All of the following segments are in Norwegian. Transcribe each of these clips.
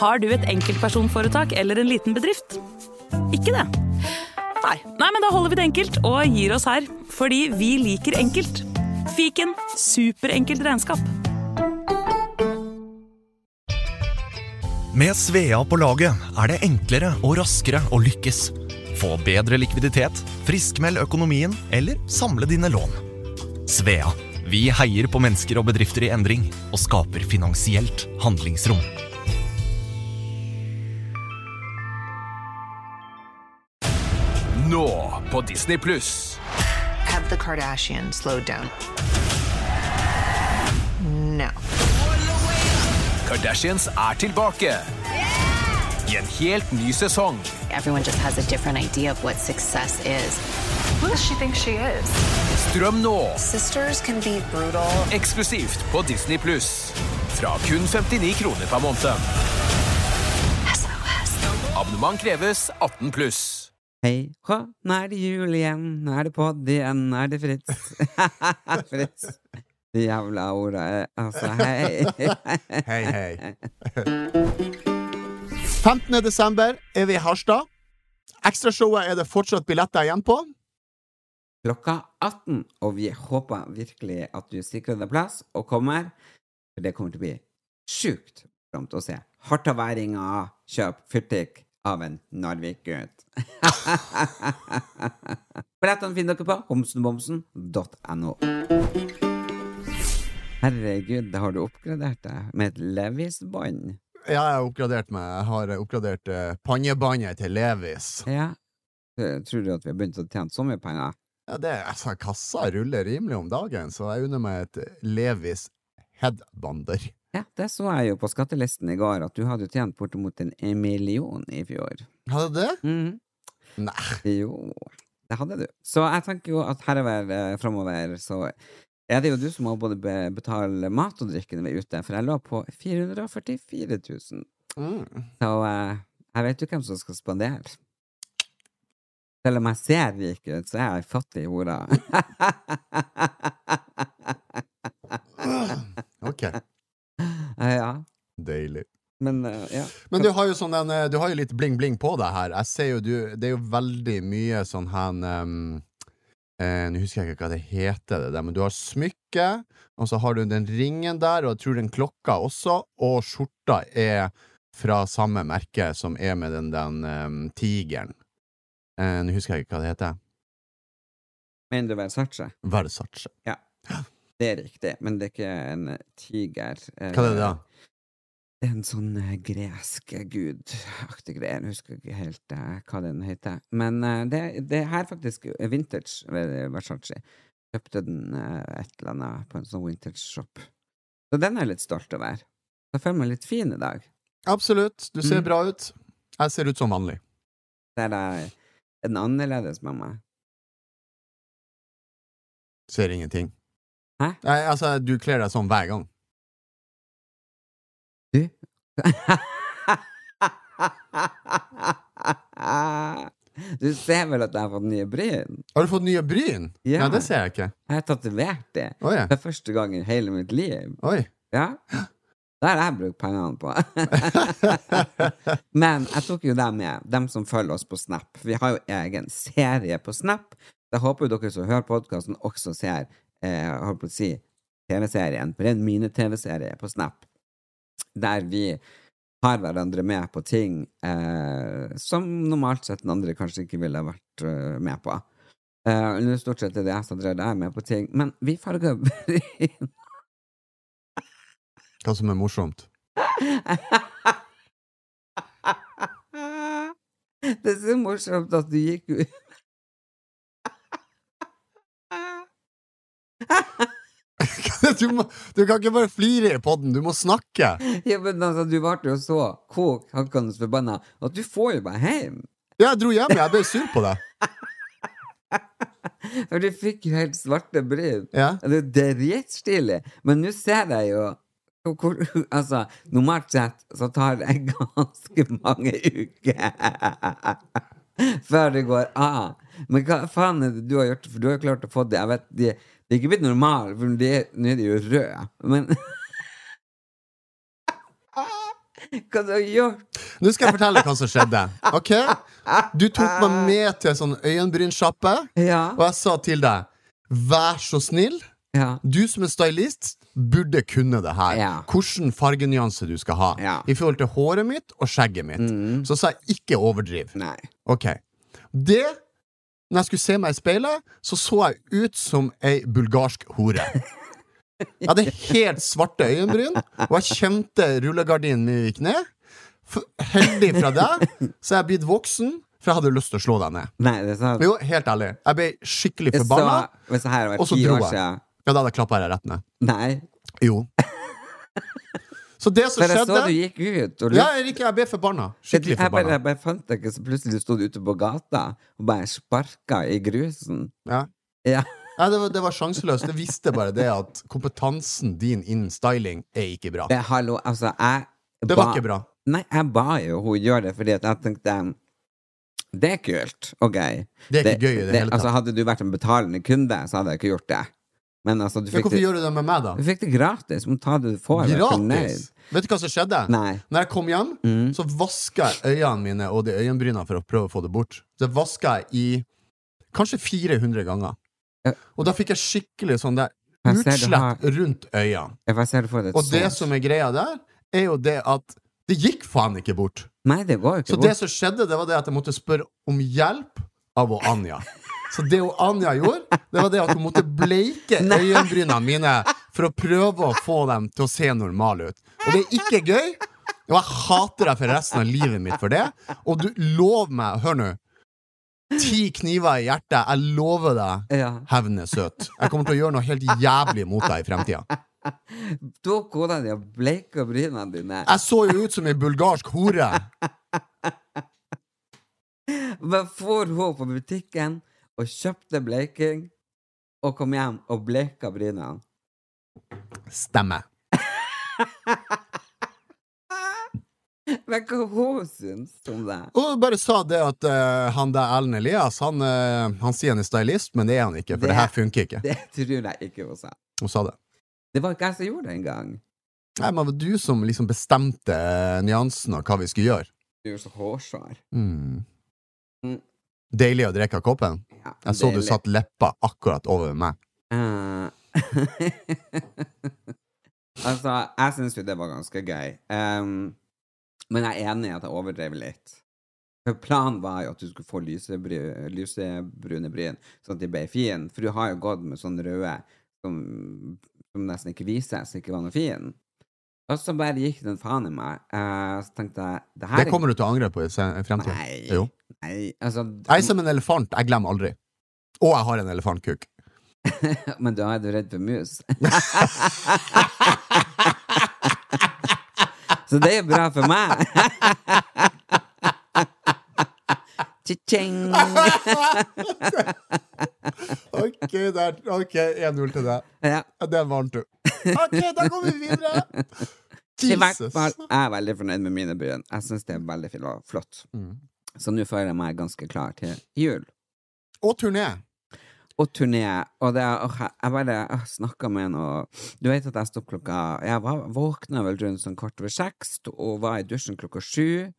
Har du et enkeltpersonforetak eller en liten bedrift? Ikke det? Nei. Nei, men da holder vi det enkelt og gir oss her. Fordi vi liker enkelt. Fiken superenkelt regnskap. Med Svea på laget er det enklere og raskere å lykkes. Få bedre likviditet, friskmeld økonomien eller samle dine lån. Svea vi heier på mennesker og bedrifter i endring og skaper finansielt handlingsrom. Nå på Disney Pluss. Have the Kardashians slowed down? No. Kardashians er tilbake. I en helt ny sesong. everyone just has a different idea of what success is. Who does she think she is? Strøm nå, Sisters can be brutal. eksklusivt på Disney Pluss. Fra kun 59 kroner per måned. Abonnement kreves 18 pluss. Hei hå, nå er det jul igjen, nå er det podd igjen, nå er det Fritz. Fritz. De jævla orda, eh, altså, hei. Hei, hei. 15. desember er vi i Harstad. Ekstrashowet er det fortsatt billetter igjen på. Klokka 18, og vi håper virkelig at du sikrer deg plass og kommer, for det kommer til å bli sjukt morsomt å se. Hartaværinga kjøp fyrtikk av en Narvik-gutt. Billettene finner dere på homsenbomsen.no. Herregud, da har du oppgradert deg med et Levis-bånd. Ja, jeg har oppgradert meg. Jeg har oppgradert eh, pannebåndet til Levis. Ja. Tror du at vi har begynt å tjene så mye penger? Ja, det, altså, kassa ruller rimelig om dagen, så jeg unner meg et eh, Levis headbander. Ja, det så jeg jo på skattelisten i går, at du hadde jo tjent bortimot en million i fjor. Hadde du det? Mhm. Nei. Jo, det hadde du. Så jeg tenker jo at herover eh, framover så er det jo du som må både be- betale mat og drikke når vi er ute, for jeg lå på 444 000. Mm. Så eh, jeg vet jo hvem som skal spandere. Selv om jeg ser rik ut, så er jeg fattig i hora. Ok, Eh, ja, deilig. men eh, ja. Men du har jo sånn en, eh, du har jo litt bling-bling på deg her. Jeg ser jo du, det er jo veldig mye sånn her em, eh, Nå husker jeg ikke hva det heter, det der, men du har smykket, og så har du den ringen der, og jeg tror den klokka også, og skjorta er fra samme merke som er med den, den em, tigeren. Eh, Nå husker jeg ikke hva det heter. Mener du Versace? Versace. Det er riktig, men det er ikke en tiger. eh, Hva er det da? Det er en sånn eh, gresk gud-aktig greie, jeg husker ikke helt eh, hva den heter. Men eh, det, det her faktisk er vintage eh, Versace. Kjøpte den eh, et eller annet på en sånn vintage shop. Så den er jeg litt stolt over. Jeg føler meg litt fin i dag. Absolutt. Du ser Mm. bra ut. Jeg ser ut som vanlig. Det er eh, en annerledes med meg. Ser ingenting. Hæ? Nei, altså, du kler deg sånn hver gang. Du? du ser vel at jeg har fått nye bryn? Har du fått nye bryn? Ja. Nei, det ser jeg ikke. Jeg har tatovert det. Oi. Det er første gang i hele mitt liv. Oi. Ja. Det har jeg brukt pengene på. Men jeg tok jo dem med, dem som følger oss på Snap. Vi har jo egen serie på Snap. Da håper jo dere som hører podkasten, også ser eh, jeg holdt på å si, TV-serien. For det er en mini-TV-serie på Snap der vi har hverandre med på ting eh, som normalt sett den andre kanskje ikke ville vært eh, med på. Eh, nå stort sett er det jeg som drar deg med på ting, men vi farger bryn. Hva som er morsomt? Det er så morsomt at du gikk ut du, må, du kan ikke bare flire i podden, du må snakke. Ja, men altså, du ble jo så kok hakkende forbanna at du får jo meg hjem. Ja, jeg dro hjem, jeg ble sur på deg. For du fikk jo helt svarte bryn. Ja. Det er dritstilig. Men nå ser jeg jo hvor- hvor- Altså, normalt sett så tar det ganske mange uker før det går av. Men hva faen er det du har gjort? For du har jo klart å få det. Jeg vet, de, de er ikke blitt normale, for de, nå er de jo røde. Men Hva du har gjort? Nå skal jeg fortelle hva som skjedde. Ok? Du tok meg med til en sånn øyenbrynsjappe, Ja. og jeg sa til deg Vær så snill, ja. du som er stylist, burde kunne det her. Ja. Hvilken fargenyanse du skal ha Ja. Mm. i forhold til håret mitt og skjegget mitt. Så sa jeg ikke overdriv. Nei. Ok. Det Når jeg skulle se meg i speilet, så så jeg ut som ei bulgarsk hore. Jeg hadde helt svarte øyenbryn, og jeg kjente rullegardinen min gikk ned. F- Heldig fra deg, så er jeg blitt voksen, for jeg hadde lyst til å slå deg ned. Nei, det er sant. Jo, helt ærlig. Jeg ble skikkelig Jeg forbanna, sa- Hvis det her var og så ti dro år jeg. siden Ja, da hadde jeg klappa deg rett ned. Nei. Jo. Så det som For jeg så skjedde du gikk ut. Og Ja, Erik, jeg ble forbanna. Jeg, Skikkelig jeg, bare, forbanna. jeg bare fant deg ikke, så plutselig sto du ute på gata og bare sparka i grusen. Ja. Ja. Nei, det var, det var sjanseløst. Det visste bare det at kompetansen din innen styling er ikke bra. Det, hallo, altså, jeg Det var ikke bra. Nei, jeg ba jo hun gjøre det, fordi at jeg tenkte Det er kult og gøy. Det er ikke gøy i det hele tatt. Altså, hadde du vært en betalende kunde, så hadde jeg ikke gjort det. Men altså, du Men fikk, hvorfor det, gjør du det med meg, da? du fikk det gratis. Må ta det du får. vær Gratis! fornøyd. Vet du hva som skjedde? Nei. Mm. Når jeg kom hjem, så vaska jeg øynene mine og de øyenbrynene for å prøve å få det bort. Det vaska jeg i kanskje 400 ganger. Ja. Og da fikk jeg skikkelig sånn der Jeg ser du har- utslett rundt øynene. Jeg bare ser du får det Og det sårt. som er greia der, er jo det at det gikk faen ikke bort. Nei, det går jo Så ikke det bort. som skjedde, det var det at jeg måtte spørre om hjelp av hun Anja. Så det hun Anja gjorde, det var det at hun måtte bleike øyenbrynene mine for å prøve å få dem til å se normale ut. Og det er ikke gøy, og jeg hater deg for resten av livet mitt for det. Og du lov meg, hør nå, ti kniver i hjertet, jeg lover deg, Ja. hevn er søt. Jeg kommer til å gjøre noe helt jævlig mot deg i fremtida. Tok hodene dine og bleika brynene dine. Jeg så jo ut som ei bulgarsk hore. Men for hun på butikken og kjøpte bleking, og kom hjem og bleika brynene. Stemmer. Men hva hun syns om det? Og bare sa det at eh, han der Ellen Elias, han, eh, han sier han er stylist, men det er han ikke, for det, Det- her funker ikke. Det tror jeg ikke hun sa. Hun sa det. Det var ikke jeg som gjorde det engang. Nei, men det var du som liksom bestemte eh, nyansen av hva vi skulle gjøre. Du er jo så hårsår. Mm. Mm. Deilig å drikke av koppen. Ja, Jeg så det er du litt- satt leppa akkurat over meg. Eh. altså, jeg syns jo det var ganske gøy. Em, men jeg er enig i at jeg overdrev litt. For planen var jo at du skulle få lysebru- lysebrune bryn, sånn at de ble fine. For du har jo gått med sånne røde som, som nesten ikke vises, ikke var noe fin. Og så bare gikk den faen i meg. Eh, så tenkte jeg Det her Det kommer du til å angre på i se- i fremtiden. Nei. Jo. Nei, altså Jeg er som en elefant. Jeg glemmer aldri. Og jeg har en elefantkuk. Men da er du redd for mus. Så det er bra for meg. Cha-ching! Ok, der. Ok, 1-0 til deg. Ja, Den vant du. Ok, da går vi videre. I hvert fall jeg er veldig fornøyd med mine bryn. Jeg syns det er veldig fil- og flott. Mm. Så nå føler jeg meg ganske klar til jul Og turné. og turné. Og det er, åh, jeg bare åh, snakka med en, og du vet at jeg sto opp klokka Jeg var, våkna vel rundt sånn kvart over seks og var i dusjen klokka sju.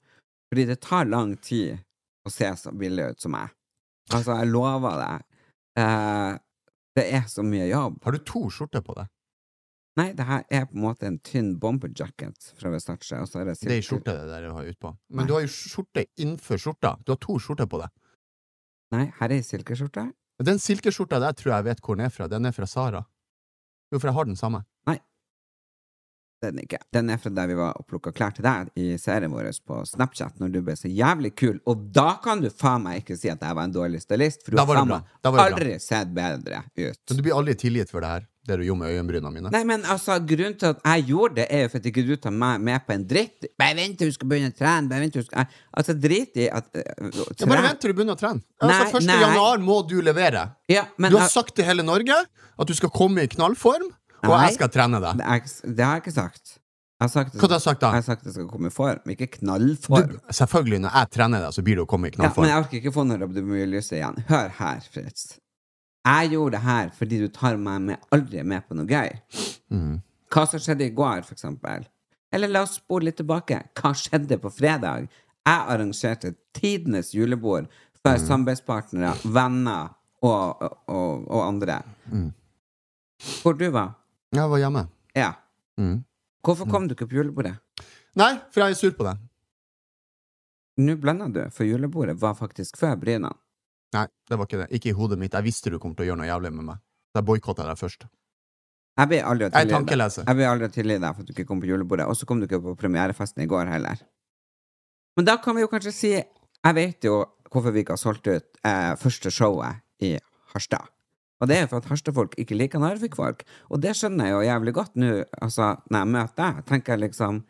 Fordi det tar lang tid å se så billig ut som meg. Altså, jeg lover deg. Eh, det er så mye jobb. Har du to skjorter på deg? Nei, det her er på en måte en tynn bomber jacket fra Versace. Og så er det Det er silke- ei skjorte det der jeg har utpå. Men Nei. du har jo skjorte innenfor skjorta. Du har to skjorter på deg. Nei, her er ei silkeskjorte. Den silkeskjorta der tror jeg vet hvor den er fra. Den er fra Sara. Jo, for jeg har den samme. Den, ikke. den er fra der vi var og plukka klær til deg i serien vår på Snapchat, når du ble så jævlig kul. Og da kan du faen meg ikke si at jeg var en dårlig stylist, for du Da har var det faen bra. meg Da var det bra. aldri sett bedre ut. Men du blir aldri tilgitt for det her, det du gjorde med øyenbrynene mine. Nei, men altså, grunnen til at jeg gjorde det, er jo for at ikke du tar meg med på en dritt. Bare vent til du skal begynne å trene, bare vent til du skal Altså, drit i at Ja, bare vent til du begynner å trene. Nei, Altså, 1. nei. januar må du levere. Ja, men Du har jeg- sagt til hele Norge at du skal komme i knallform, og Nei. jeg skal trene deg. det, er, ikke- det har jeg ikke sagt. Jeg har sagt det, Hva du har sagt da? Jeg har sagt det skal komme i form, ikke knallform. Du, selvfølgelig, når jeg trener deg, så blir du å komme i Ja, men knallform. jeg orker ikke få noe rabdomyolyse igjen. Hør her, Fritz. Jeg gjorde det her Mm. fordi du tar meg med aldri med på noe gøy. Hva som skjedde i går, for eksempel. Eller la oss spole litt tilbake. Hva skjedde på fredag? Jeg arrangerte tidenes julebord for Mm. samarbeidspartnere, venner og, og, og andre. Mm. Hvor du var? Jeg var hjemme. Ja. Mm. Hvorfor kom du ikke på julebordet? Nei, for jeg er sur på deg. Nå blanda du, for julebordet var faktisk før Bryna. Nei, det var ikke det. Ikke i hodet mitt. Jeg visste du kom til å gjøre noe jævlig med meg. Så jeg boikotta deg først. Jeg blir aldri å Jeg er tilgi deg. tankeleser. Jeg blir aldri å tilgi deg for at du ikke kom på julebordet, og så kom du ikke på premierefesten i går heller. Men da kan vi jo kanskje si Jeg vet jo hvorfor vi ikke har solgt ut eh, første showet i Harstad. Og det er jo for at Harstad-folk ikke liker Narvik-folk. Og det skjønner jeg jo jævlig godt nå, altså, når jeg møter deg, tenker jeg liksom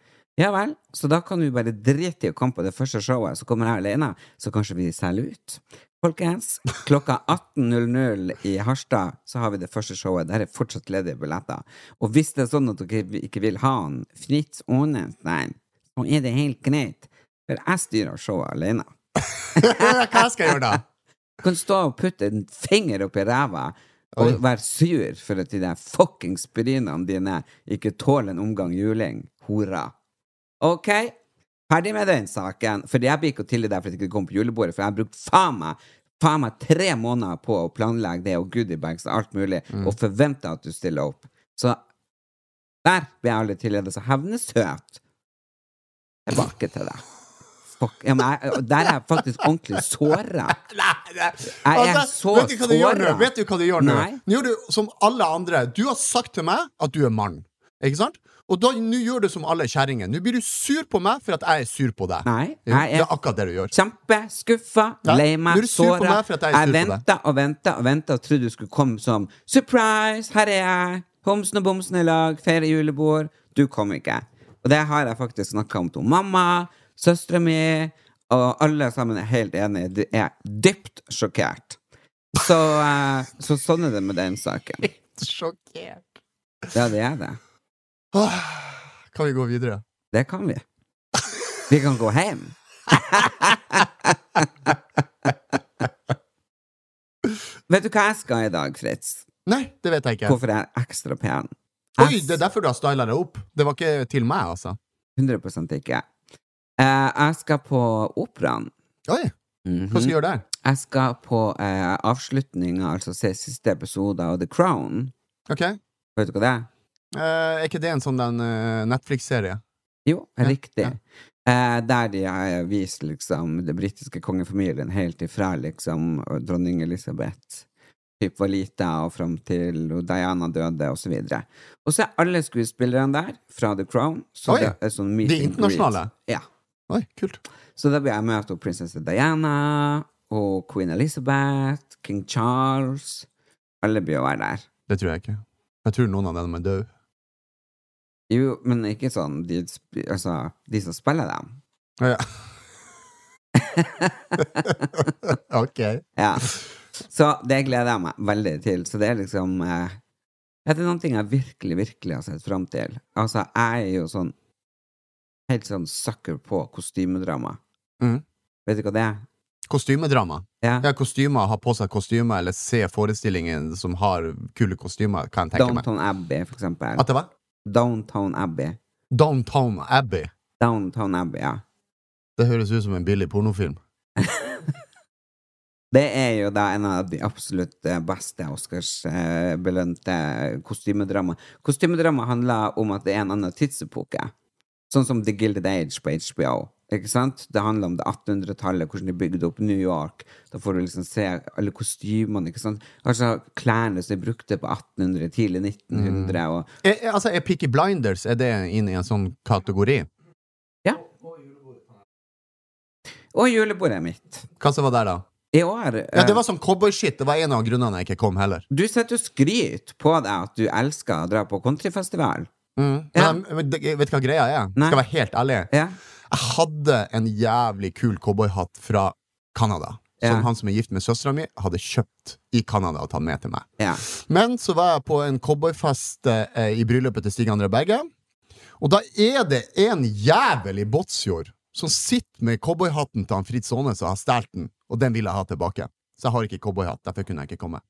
Ja vel, så da kan vi bare drite i å komme på det første showet, så kommer jeg alene, så kanskje vi selger ut. Folkens, klokka 18.00 i Harstad så har vi det første showet. Der er fortsatt ledige billetter. Og hvis det er sånn at dere ikke vil ha han Fritz Aanenstein, så er det helt greit, for jeg styrer showet alene. Hva skal jeg gjøre da? Du kan stå og putte en finger opp i ræva og være sur for at de der fuckings brynene dine ikke tåler en omgang juling, hora. Ok, ferdig med den saken, for jeg blir ikke å tilgi deg for at du ikke kom på julebordet, for jeg har brukt faen meg faen meg tre måneder på å planlegge det og goodiebags og alt mulig, Mm. og forventer at du stiller opp. Så der blir jeg aldri tilgitt, så hevnesøt tilbake til deg. Fuck. Ja, men jeg, der er jeg faktisk ordentlig såra. Jeg er så Altså, vet du hva du gjør nå? såret. Vet du hva du gjør nå? Nei. Nå gjør du som alle andre. Du har sagt til meg at du er mann. Ikke sant? Og da, nå gjør du som alle kjerringer. Nå blir du sur på meg for at jeg er sur på deg. Nei, Jo, jeg er- Det er akkurat det du gjør. Kjempeskuffa, Ja, lei nå er meg, du sur på såra. meg for at jeg er sur Jeg på deg. venta og venta og venta og trodde du skulle komme som surprise, her er jeg, homsen og bomsen i lag, feire julebord. Du kom ikke. Og det har jeg faktisk snakka om til mamma, søstera mi, og alle sammen er helt enige. De er dypt sjokkert. Så, eh, så sånn er det med den saken. Sjokkert. Ja, det er det. Åh, Kan vi gå videre? Det kan vi. Vi kan gå hjem. Vet du hva jeg skal i dag, Fritz? Nei, det vet jeg ikke. Hvorfor jeg er ekstra pen? Oi, Jeg det er derfor du har styla deg opp. Det var ikke til meg, altså. 100 ikke. Eh, jeg skal på operaen. Oi, hva Mhm. skal du gjøre der? Jeg skal på eh, avslutninga, altså se siste episode av The Crown. Ok. Vet du hva det er? Eh, er ikke det en sånn den eh, Netflix-serie? Jo, Ja, riktig. ja. Eh, der de har vist liksom den britiske kongefamilien helt ifra liksom og dronning Elisabeth typ var lita og fram til og Diana døde, og så videre. Og så er alle skuespillerne der fra The Crown. Så Oi! det er sånn meet De and greet. internasjonale? Ja. Oi, kult. Så da blir jeg møte opp prinsesse Diana og queen Elizabeth, king Charles Alle blir å være der. Det tror jeg ikke. Jeg tror noen av dem er døde. Jo, men ikke sånn de, sp- altså, de som spiller dem. Å, Ja. ok. Ja. Så det gleder jeg meg veldig til. Så det er liksom eh, Det er noen ting jeg virkelig, virkelig har sett fram til. Altså, jeg er jo sånn helt sånn sucker på kostymedrama. Mhm. Vet du hva det er? Kostymedrama. Ja. Ja, kostymer, ha på seg kostymer, eller se forestillingen som har kule kostymer, kan jeg tenke meg. Downtown Abbey, for eksempel. At det var? Downtown Abbey. Downtown Abbey. Downtown Abbey, ja. Det høres ut som en billig pornofilm. Det er jo da en av de absolutt eh, beste Oscars-belønte kostymedrama. Kostymedrama handler om at det er en annen tidsepoke. Sånn som The Gilded Age på HBO. Ikke sant? Det handler om det 1800-tallet, hvordan de bygde opp New York. Da får du liksom se alle kostymene, ikke sant? Altså klærne som de brukte på 1800, tidlig 1900, og Er, er- altså, er Peaky Blinders er det inn i en sånn kategori? Ja. Og julebordet mitt. Hva som var der, da? I år Ja, eh, Det var sånn cowboyshit. Det var en av grunnene jeg ikke kom heller. Du setter jo skryt på deg at du elsker å dra på countryfestival. Mm. Ja. Men, men det- vet du hva greia er? Nei. Skal jeg være helt ærlig. Ja. Jeg hadde en jævlig kul cowboyhatt fra Canada. Som Ja. han som er gift med søstera mi, hadde kjøpt i Canada og tatt med til meg. Ja. Men så var jeg på en cowboyfest eh, i bryllupet til Stig André Berge. Og da er det en jævel i Båtsfjord som sitter med cowboyhatten til han Fritz Aanes og har stjålet den, og den vil jeg ha tilbake. Så jeg har ikke cowboyhatt, derfor kunne jeg ikke komme.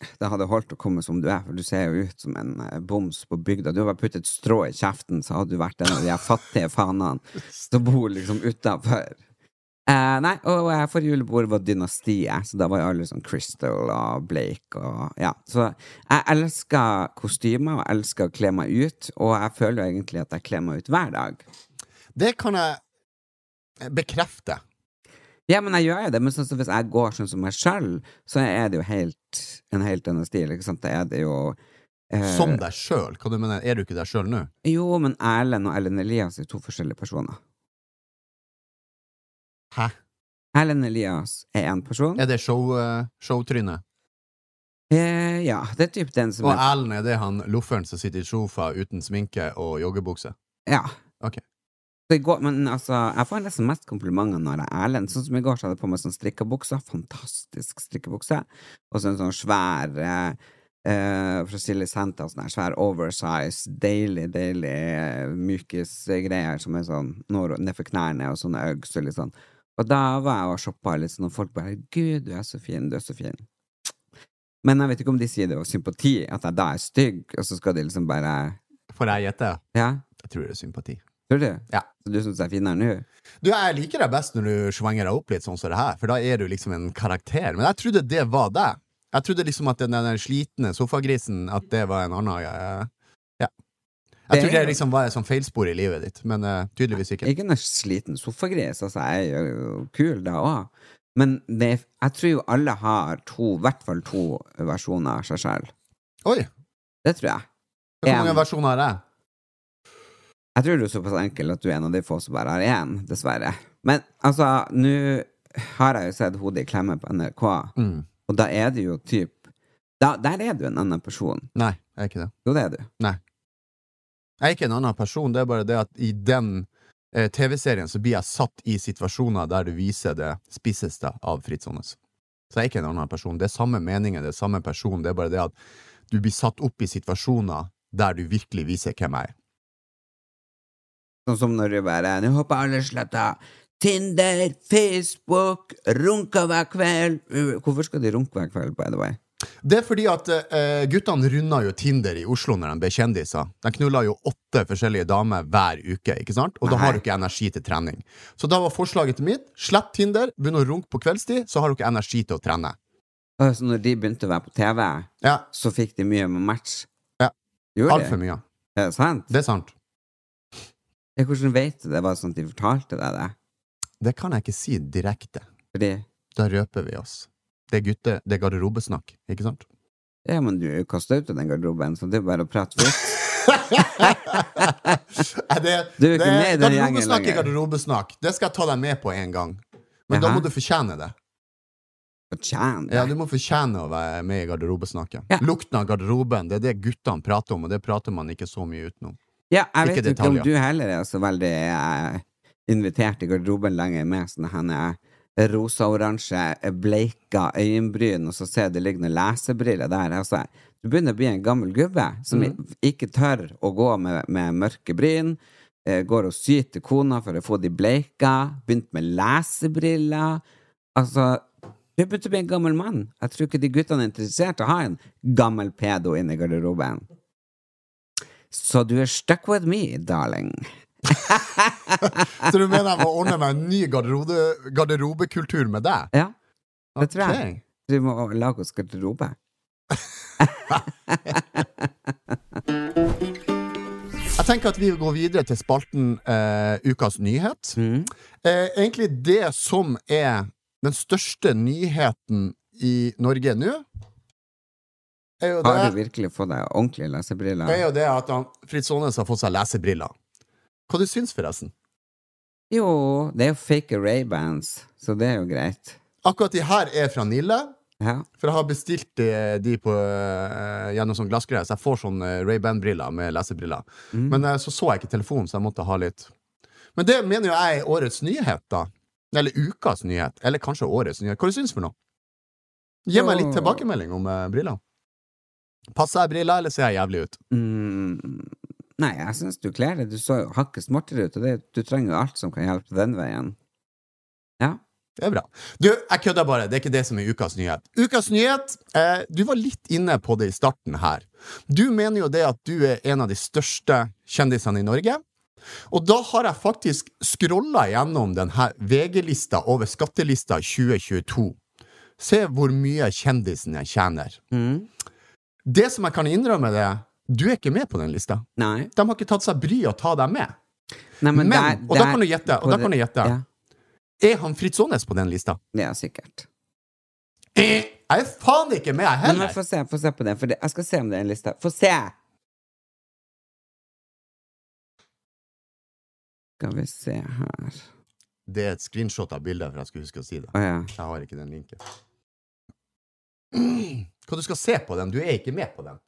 Det hadde holdt å komme som du er, for du ser jo ut som en eh, boms på bygda. Du hadde bare puttet strå i kjeften, så hadde du vært en av de her fattige fanene som bor liksom utafor. Eh, nei, og eh, forrige julebord var Dynastiet, så da var jo alle sånn Crystal og Blake og Ja. Så jeg elsker kostymer, og jeg elsker å kle meg ut, og jeg føler jo egentlig at jeg kler meg ut hver dag. Det kan jeg eh, bekrefte. Ja, men jeg gjør jo det, men sånn som hvis jeg går sånn som meg sjøl, så er det jo helt, en helt annen stil, ikke sant? Da er det jo eh, Som deg sjøl. Hva du mener, er du ikke deg sjøl nå? Jo, men Erlend og Ellen Elias er to forskjellige personer. Hæ? Erlend Elias er én person. Er det show, eh, showtrynet? Eh, ja, det er typ den som Og er Erlend, er det han lofferen som sitter i sofa uten sminke og joggebukse? Ja. Ok. Så i går, men altså, jeg får nesten mest komplimenter når det er Erlend. Sånn som i går, så hadde jeg på meg sånn strikkebukse. Fantastisk strikkebukse. Og så en sånn svær eh, eh, fra Silly Santa, sånn her svær oversize, deilig, deilig eh, mykisgreier som er sånn nord- nedfor knærne, og sånne øggs og litt sånn. Og da var jeg og shoppa litt sånn, og folk bare 'Gud, du er så fin, du er så fin'. Men jeg vet ikke om de sier det av sympati, at jeg da er stygg, og så skal de liksom bare Får jeg gjette? Ja, Jeg tror det er sympati. tror du? Ja. Så du syns jeg er finere nå? Du, Jeg liker deg best når du svanger deg opp litt sånn som det her, for da er du liksom en karakter. Men jeg trodde det var deg. Jeg trodde liksom at den der slitne sofagrisen, at det var en annen eh, Ja. Jeg Det trodde er- det liksom var et sånt feilspor i livet ditt, men eh, tydeligvis ikke. Ikke noe sliten sofagris, altså, jeg er jo kul da òg. Men det, er- jeg tror jo alle har to, i hvert fall to versjoner av seg selv. Oi! Det tror jeg. Hvor En. mange versjoner har jeg? Jeg tror du er såpass enkel at du er en av de få som bare har én, dessverre. Men altså, nå har jeg jo sett Hodet i klemme på NRK, Mm. og da er det jo typ da, Der er du en annen person. Nei, jeg er ikke det. Jo, det er du. Jeg er ikke en annen person, det er bare det at i den eh, TV-serien så blir jeg satt i situasjoner der du viser det spisseste av Fritz Aanes. Så jeg er ikke en annen person. Det er samme meningen, det er samme person, det er bare det at du blir satt opp i situasjoner der du virkelig viser hvem jeg er. Sånn som når du bare Nå håper alle sletter Tinder, Facebook, runker hver kveld Uh, Hvorfor skal de runke hver kveld, by the way? Det er fordi at eh, guttene runda jo Tinder i Oslo når de ble kjendiser. De knulla jo åtte forskjellige damer hver uke, ikke sant? Og da Nei. har du ikke energi til trening. Så da var forslaget til mitt slett Tinder, begynn å runke på kveldstid, så har du ikke energi til å trene. Og så Altså, når de begynte å være på TV, Ja, så fikk de mye med match. Ja. Gjorde de? altfor mye. Er det sant? Det er sant. Ja, hvordan vet du det? Var det sånn at de fortalte deg det? Det kan jeg ikke si direkte. Fordi Da røper vi oss. Det er gutte, det er garderobesnakk, ikke sant? Ja, men du kasta ut av den garderoben, så det er bare å prate fritt. Nei, det, Du er ikke med i den garderobesnakk gjengen er lenger. garderobesnakk. Det skal jeg ta deg med på en gang. Men da Jaha. må du fortjene det. Fortjent. Ja, Du må fortjene å være med i garderobesnakket. Ja. Lukten av garderoben, det er det guttene prater om, og det prater man ikke så mye utenom. Ja, Ikke jeg vet jo ikke om detaljer. du heller er så veldig eh, invitert i garderoben lenger med sånne henne rosa-oransje, eh, bleika øyenbryn, og så ser du det ligger noen lesebriller der. Altså, du begynner å bli en gammel gubbe som Mm. ikke tør å gå med, med mørke bryn. eh, Går og syr til kona for å få de bleika. Begynt med lesebriller. Altså, du begynte å bli en gammel mann. Jeg tror ikke de guttene er interessert i å ha en gammel pedo inne i garderoben. Så du er stuck with me, darling. Så du mener jeg må ordne meg en ny garderobe, garderobekultur med deg? Ja, det tror jeg. Ok. Du må lage oss garderobe. Jeg tenker at vi går videre til spalten eh, Ukas nyhet. Eh, egentlig det som er den største nyheten i Norge nå, er jo Har du det, virkelig fått deg ordentlige lesebriller? er jo det at han, Fritz Aanes har fått seg lesebriller. Hva du syns forresten? Jo, det er jo fake Ray-bands, så det er jo greit. Akkurat de her er fra Nille. Ja. For jeg har bestilt de, de på, eh, gjennom sånn glassgreier, så jeg får sånn eh, Ray-Ban-briller med lesebriller. Men eh, så så jeg ikke telefonen, så jeg måtte ha litt Men det mener jo jeg er årets nyhet, da. Eller ukas nyhet. Eller kanskje årets nyhet. Hva du syns du for noe? Gi meg litt Jo. tilbakemelding om eh, briller. Passer jeg briller, eller ser jeg jævlig ut? Mm. Nei, jeg syns du kler det. Du så jo hakket smartere ut, og det, du trenger jo alt som kan hjelpe den veien. Ja. Det er bra. Du, jeg kødder bare. Det er ikke det som er ukas nyhet. Ukas nyhet, eh, du var litt inne på det i starten her. Du mener jo det at du er en av de største kjendisene i Norge. Og da har jeg faktisk scrolla gjennom denne VG-lista over skattelista 2022. Se hvor mye kjendisen jeg tjener. Mm. Det som jeg kan innrømme, det er du er ikke med på den lista. Nei. De har ikke tatt seg bryet å ta deg med. Nei, men, Men, der, og da der- kan du gjette, og da på det- kan du gjette. Ja, Er han Fritz Aanes på den lista? det er sikkert. Eh, Jeg er faen ikke med, jeg Men jeg heller! får se, får se på det, for det, jeg skal se om det er en liste. Få se! Skal vi se her Det er et screenshot av bildet, for jeg skulle huske å si det. Å ja. Jeg har ikke den linken. Hva du skal se på den? Du er ikke med på den.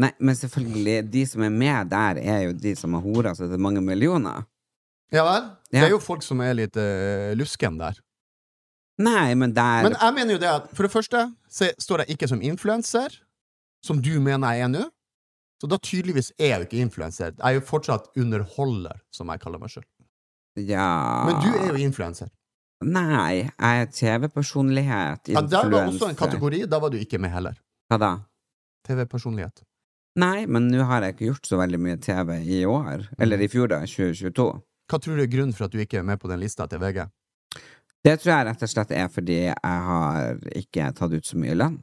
Nei, men selvfølgelig, de som er med der, er jo de som har hora seg til mange millioner. Ja vel? Det Ja. er jo folk som er litt eh, lusken der. Nei, men der Men jeg mener jo det at for det første så står jeg ikke som influenser, som du mener jeg er nå. Så da tydeligvis er jeg jo ikke influenser. Jeg er jo fortsatt underholder, som jeg kaller meg sjøl. Ja Men du er jo influenser. Nei, jeg er TV-personlighet. Ja, der var også en influencer. kategori. Da var du ikke med heller. Hva da? TV-personlighet. Nei, men nå har jeg ikke gjort så veldig mye TV i år. Eller i fjor, da. 2022. Hva tror du er grunnen for at du ikke er med på den lista til VG? Det tror jeg rett og slett er fordi jeg har ikke tatt ut så mye lønn.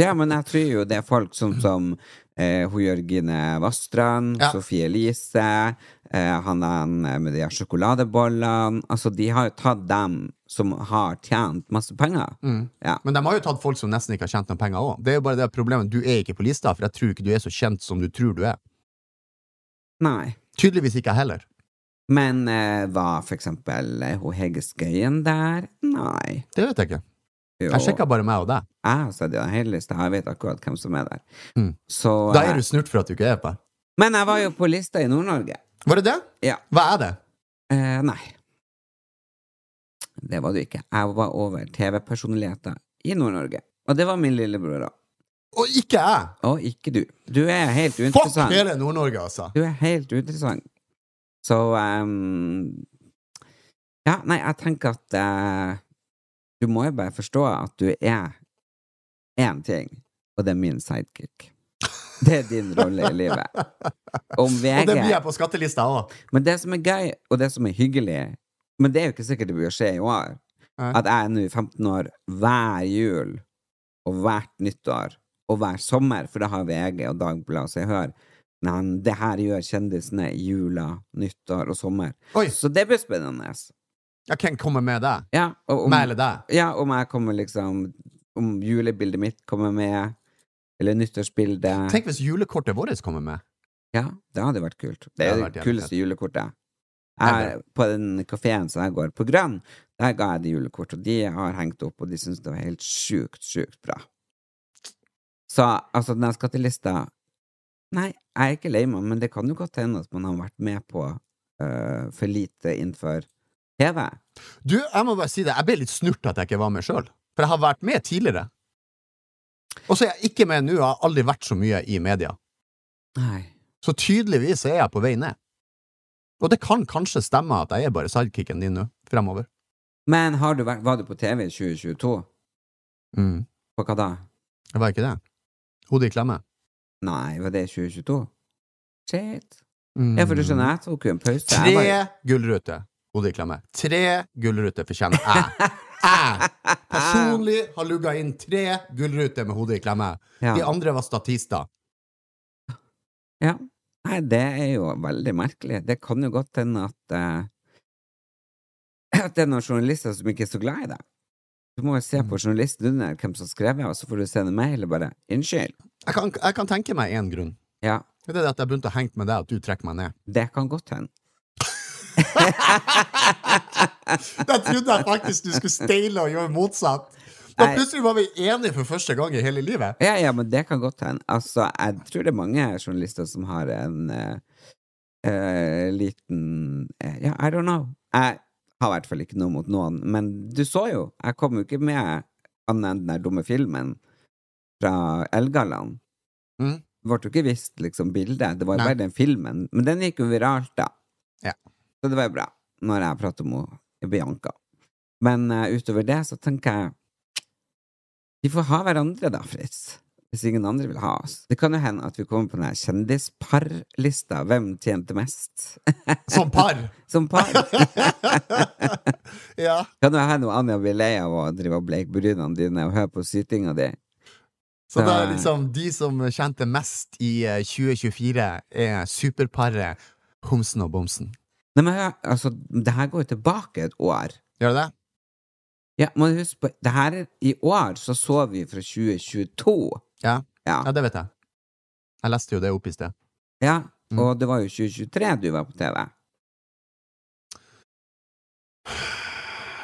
Ja, men jeg tror jo det er folk som, som eh, hun Jørgine Vassdrand, Ja. Sofie Elise, eh, han der med de her sjokoladebollene Altså, de har jo tatt dem som har tjent masse penger. Mm. Ja. Men de har jo tatt folk som nesten ikke har tjent noen penger òg. Det er jo bare det problemet. Du er ikke på lista, for jeg tror ikke du er så kjent som du tror du er. Nei. Tydeligvis ikke jeg heller. Men eh, var for eksempel eh, hun Hege Skøyen der? Nei. Det vet jeg ikke. Jo. Jeg sjekka bare meg og deg. Jeg har sett den hele lista, jeg vet akkurat hvem som er der. Mm. Så, Da er eh, du snurt for at du ikke er på. Men jeg var jo på lista i Nord-Norge. Var det det? Ja. Hva er det? Eh, nei. Det var du ikke. Jeg var over TV-personligheter i Nord-Norge. Og det var min lillebror òg. Og ikke jeg! Og ikke du. Du er helt Fuck uinteressant. hele Nord-Norge, altså! Du er helt uinteressant. Så ehm, Ja, nei, jeg tenker at eh, Du må jo bare forstå at du er én ting, og det er min sidekick. Det er din rolle i livet. Om VG Og det blir jeg på skattelista òg. Men det som er gøy, og det som er hyggelig Men det er jo ikke sikkert det blir å skje i år. Nei. At jeg nå i 15 år hver jul og hvert nyttår og hver sommer, for da har VG og Dagbladet og Se og Hør men det her gjør kjendisene i jula, nyttår og sommer. Oi. Så det blir spennende. Ja, hvem kommer med deg? Ja, og om, Meg eller deg? ja, om jeg kommer liksom Om julebildet mitt kommer med, eller nyttårsbildet Tenk hvis julekortet vårt kommer med. Ja, det hadde vært kult. Det hadde er vært det jævlig kuleste fett. julekortet. Ja, Jeg, på den kafeen som jeg går på Grønn, der ga jeg de julekort, og de har hengt opp, og de syns det var helt sjukt, sjukt bra. Så altså, den skattelista Nei, jeg er ikke lei meg, men det kan jo godt hende at man har vært med på øh, for lite innenfor TV. Du, jeg må bare si det, jeg ble litt snurt at jeg ikke var med sjøl. For jeg har vært med tidligere. Og så er jeg ikke med nå, jeg har aldri vært så mye i media. Nei. Så tydeligvis er jeg på vei ned. Og det kan kanskje stemme at jeg er bare sidekicken din nå, fremover. Men har du vært, var du på TV i 2022? På hva da? Det var ikke det. Hodet i klemme. Nei, var det i 2022? Shit. Ja, for du skjønner, jeg tok jo en pause. Jeg var jo- Tre gullruter. Hodet i klemme. Tre gullruter fortjener jeg. Jeg personlig har lugga inn tre gullruter med hodet i klemme. Ja. De andre var statister. Ja. Nei, det er jo veldig merkelig. Det kan jo godt hende at eh, At det er noen journalister som ikke er så glad i deg. Du må jo se på journalisten under hvem som har skrevet, og så får du sende mail og bare 'Unnskyld'. Jeg kan, jeg kan tenke meg én grunn. Ja, Det er det at jeg begynte å henge med deg, at du trekker meg ned. det kan godt hende. Jeg trodde jeg faktisk du skulle steile og gjøre motsatt. Da Nei. plutselig var vi enige for første gang i hele livet. Ja, ja, men det kan godt hende. Altså, jeg tror det er mange journalister som har en eh, eh, liten eh, Ja, I don't know. Jeg har i hvert fall ikke noe mot noen, men du så jo, jeg kom jo ikke med annet enn den der dumme filmen fra Elgaland. Mm. Ble jo ikke visst liksom bildet, det var jo Nei. bare den filmen. Men den gikk jo viralt, da. Ja. Så det var jo bra. når jeg prater om hun Bianca. Men eh, utover det så tenker jeg De får ha hverandre, da, Fritz. Hvis ingen andre vil ha oss. Det kan jo hende at vi kommer på den her kjendisparlista. Hvem tjente mest Som par! som par? ja. Kan jo hende hun Anja blir lei av å drive og bleike brynene dine og høre på sytinga di. Så da Eh. er liksom de som tjente mest i eh, 2024, er superparet Homsen og Bomsen. Nei, men hør, altså, det her går jo tilbake et år. Gjør det det? Ja, må du huske på, det her er- i år så så vi fra 2022. Ja. Ja. ja, det vet jeg. Jeg leste jo det opp i sted. ja. Mm. Og det var jo 2023 du var på TV.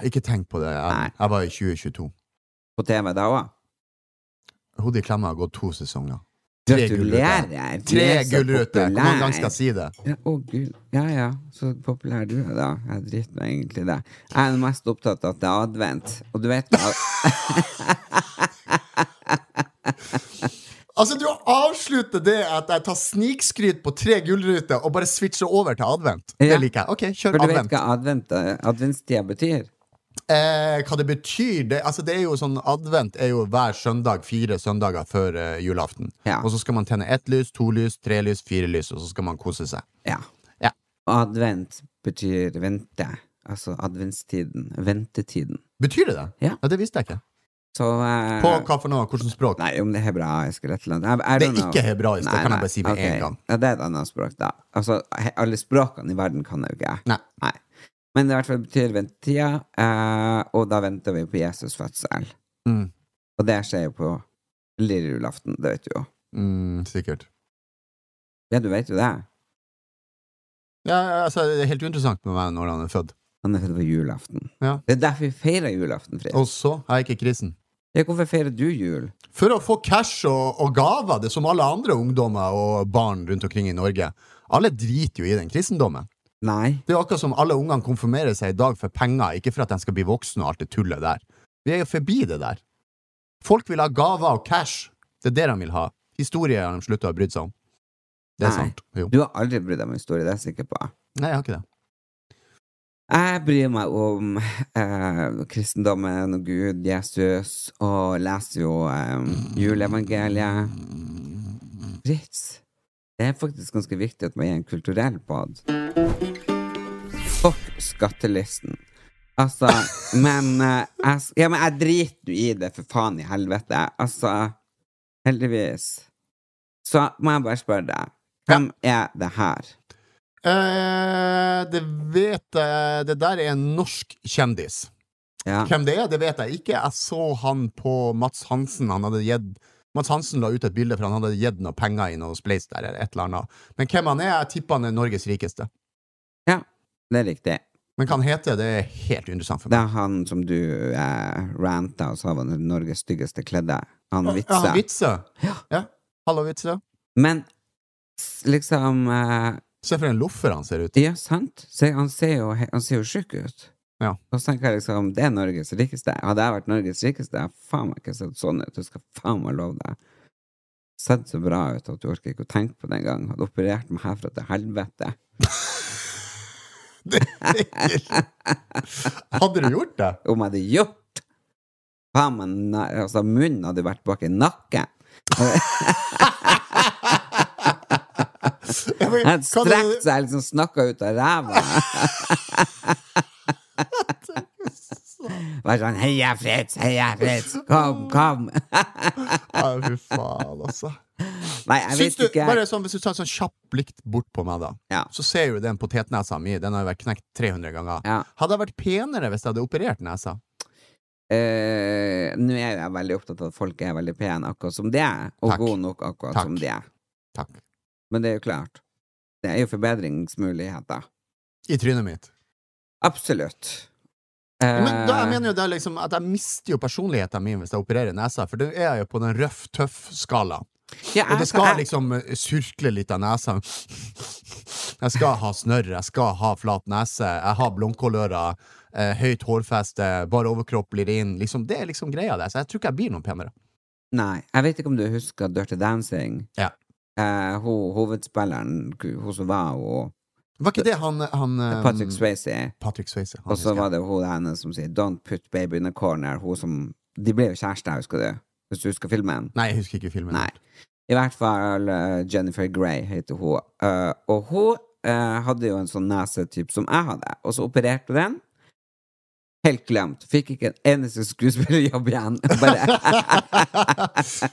Ikke tenk på det. Nei. Jeg, jeg var i 2022. På TV da òg. Hodet i klemma har gått to sesonger. Tre Gratulerer! gullruter. Du er Tre så gullruter! Hvor mange ganger skal jeg populær. si det? Ja, å gud. Ja ja, så populær du er, da. Jeg driter nå egentlig i det. Jeg er mest opptatt av at det er advent, og du vet hva Altså, du avslutter det at jeg tar snikskryt på tre gullruter og bare switcher over til advent. Ja. Det liker jeg. Ok, kjør For du vet advent. hva advent, eh, adventstida betyr? Eh, hva det betyr? Det, altså, det er jo sånn advent er jo hver søndag, fire søndager før eh, julaften. Ja. Og så skal man tenne ett lys, to lys, tre lys, fire lys, og så skal man kose seg. Ja. Ja. Advent betyr vente. Altså adventstiden. Ventetiden. Betyr det det? Ja. det visste jeg ikke. Så eh, På hva for noe? Hvilket språk? Nei, om det er hebraisk eller et eller annet. I- I Det er don't know. ikke hebraisk, det Nei, kan jeg nei, bare si med ok. en gang. Ja, det er et annet språk, da. Altså, he- alle språkene i verden kan jeg jo ikke. Nei. Men det i hvert fall betyr ventetida, eh, og da venter vi på Jesus fødsel. Mm. Og det skjer jo på lille julaften, det vet du jo. Mm, sikkert. Ja, du vet jo det. Ja, ja, altså, det er helt uinteressant med meg når han er født. Han er født på julaften. Ja. Det er derfor vi feirer julaften, Fritz. Og så er jeg ikke krisen. Ja, hvorfor feirer du jul? For å få cash og, og gaver, det er som alle andre ungdommer og barn rundt omkring i Norge. Alle driter jo i den kristendommen. Nei. Det er jo akkurat som alle ungene konfirmerer seg i dag for penger, ikke for at de skal bli voksne og alt det tullet der. Vi er jo forbi det der. Folk vil ha gaver og cash. Det er det de vil ha. Historie har de slutta å bry seg om. Det er Nei. sant. Jo. Du har aldri brydd deg om historie, det er jeg sikker på. Nei, jeg har ikke det. Jeg bryr meg om eh, kristendommen og Gud, Jesus, og leser jo eh, juleevangeliet. Fritz, det er faktisk ganske viktig at man er en kulturell pod. Fuck skattelisten. Altså, men eh, jeg, s- Ja, men jeg driter jo i det, for faen i helvete. Altså, heldigvis. Så må jeg bare spørre deg, hvem er det her? Eh, det vet jeg Det der er en norsk kjendis. Ja. Hvem det er, det vet jeg ikke. Jeg så han på Mats Hansen. Han hadde gitt Mats Hansen la ut et bilde, for han hadde gitt noe penger i noe spleis der. eller et eller annet. Men hvem han er, jeg tipper han er Norges rikeste. ja, det er riktig. Men hva han heter, det er helt uinteressant for Det meg. er han som du eh, ranta og sa var den Norges styggeste kledde. Han Ja, vitsa. han Vitse. Ja. Ja. Hallo, Vitse. Men s- liksom eh, Se for en loffer han ser ut. Ja, sant? Se, han ser jo, he- han ser jo sjuk ut. Ja. Og så tenker jeg liksom, det er Norges rikeste. Hadde jeg vært Norges rikeste, jeg hadde faen meg ikke sett sånn ut. Du skal faen meg love deg. Sett så bra ut at du orker ikke å tenke på det engang. Hadde operert meg herfra til helvete. Det er ikke- Hadde du gjort det? om jeg hadde gjort. Faen, men nei, altså, munnen hadde vært bak i nakken. Jeg Den hadde vet, hva strekt det- seg, liksom snakka ut av ræva. Bare sånn 'Heia Fritz, heia Fritz, kom, kom'. Ja, Fy faen, altså. Nei, jeg Syns vet du, ikke. bare sånn, hvis du tar et sånn kjapt blikk bort på meg, da, Ja. så ser du den potetnesa mi. Den har jo vært knekt 300 ganger. Ja. Hadde jeg vært penere hvis jeg hadde operert nesa? Eh, Nå er jeg veldig opptatt av at folk er veldig pene akkurat som de er, og Takk. gode nok akkurat Takk. som de er. Takk. Men det er jo klart. Det er jo forbedringsmuligheter. I trynet mitt. Absolutt. Men da, Eh, jeg mener jo det er liksom at jeg mister jo personligheten min hvis jeg opererer nesa, for da er jeg jo på den røff tøff-skalaen. ja, Og jeg- det skal jeg- liksom eh, surkle litt av nesa. Jeg skal ha snørr, jeg skal ha flat nese, jeg har blomkålører, eh, høyt hårfeste, bare overkropp blir inn. Liksom, det er liksom greia der, så jeg tror ikke jeg blir noe penere. Nei, jeg vet ikke om du husker Dirty Dancing? Ja. Eh, ho, hovedspilleren, ku- hun som var hun Var ikke det han, han eh, Patrick Swayze. Patrick Swayze. Han Og så husker var jeg. det hun henne som sier 'Don't put baby in a corner'. Hun som De ble jo kjærester, husker du? Hvis du husker filmen? Nei, jeg husker ikke filmen. Nei. I hvert fall eh, Jennifer Grey heter hun. Eh, og hun eh, hadde jo en sånn nesetype som jeg hadde, og så opererte den. Helt glemt. Fikk ikke en eneste skuespillerjobb igjen. Bare.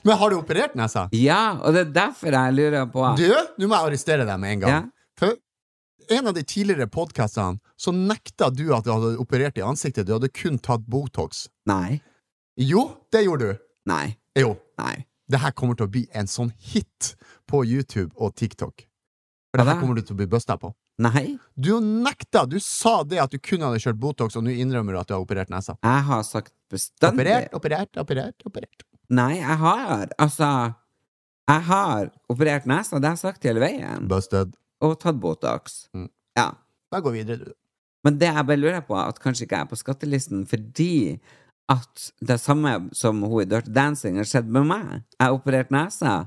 Men har du operert nesa? ja, og det er derfor jeg lurer på Du, nå må jeg arrestere deg med en gang. Ja. For en av de tidligere podkastene så nekta du at du hadde operert i ansiktet. Du hadde kun tatt Botox. Nei. Jo, det gjorde du. Nei. Jo. Nei. Det her kommer til å bli en sånn hit på YouTube og TikTok. For Hva det her da? kommer du til å bli busta på. Nei. Du nekta! Du sa det at du kun hadde kjørt Botox, og nå innrømmer du at du har operert nesa. Jeg har sagt bestandig Operert, operert, operert. operert Nei, jeg har Altså, jeg har operert nesa, det har jeg sagt hele veien, Busted. og tatt Botox. Mm. Ja. Da går vi videre, du. Men det jeg bare lurer på, er at kanskje ikke jeg er på skattelisten fordi at det samme som hun i Dirty Dancing har skjedd med meg. Jeg har operert nesa.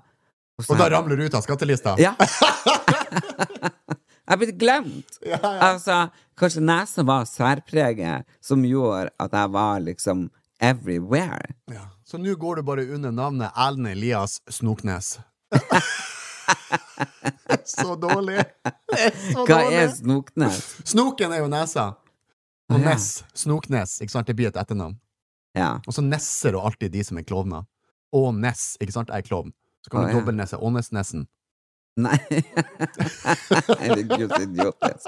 så Og da har- ramler du ut av skattelista? Ja. jeg er blitt glemt. Altså, kanskje nesa var særpreget som gjorde at jeg var liksom everywhere. Ja. Så nå går du bare under navnet Ellen Elias Snoknes. så dårlig! Det er så Hva dårlig. er snoknes? Snoken er jo nesa. Og Å, ja. Ness. Snoknes. Ikke sant? Det blir et etternavn. Ja. Og så nesser og alltid de som er klovner. Og Ness, ikke sant? Jeg er klovn. Så kan Å, du ja. dobbeltnesse. Ånes-nessen. Nei Herregud, så idiotisk.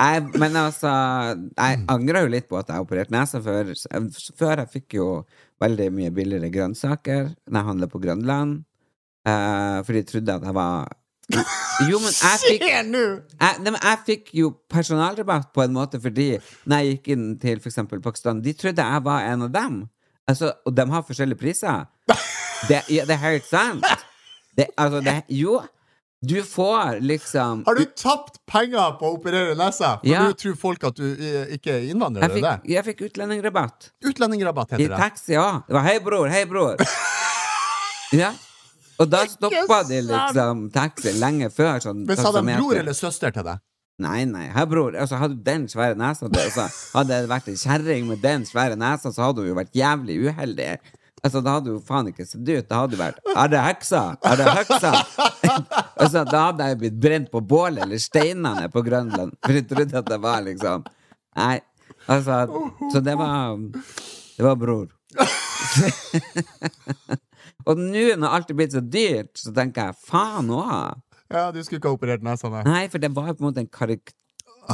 Nei, men altså Jeg angrer jo litt på at jeg opererte nesa før. Før jeg fikk jo veldig mye billigere grønnsaker når jeg handla på Grønland. eh, for de trodde at jeg var Jo, men jeg fikk Skjer nå! jeg, nei, men jeg fikk jo personalrabatt på en måte fordi når jeg gikk inn til for eksempel Pakistan, de trodde jeg var en av dem. Altså, og de har forskjellige priser. Det, ja, det er helt sant. Det, altså, det, jo, du får liksom Har du tapt penger på å operere nesa? For Ja. du tror folk at du eh, ikke er innvandrer? jeg er fikk, det? jeg fikk utlendingrabatt. Utlendingrabatt I heter det. taxi òg. Det var 'hei, bror', 'hei, bror'. Ja. Og da stoppa de liksom taxi lenge før. Sånn, Men sa de taksameter. bror eller søster til deg? Nei, nei, her bror, altså hadde du den svære nesa det, altså, Hadde det vært en kjerring med den svære nesa Så hadde hun jo vært jævlig uheldig Altså, da hadde hun faen ikke sett ut Da hadde hun vært, er det heksa? Er det heksa? altså, da hadde jeg jo blitt brent på bål Eller steinene på Grønland For jeg trodde at det var liksom Nei, altså, så det var Det var bror Og nå når alt er blitt så dyrt Så tenker jeg, faen også Ja, du skulle ikke ha operert nesa, nei. Nei, for det var jo på en måte en karik...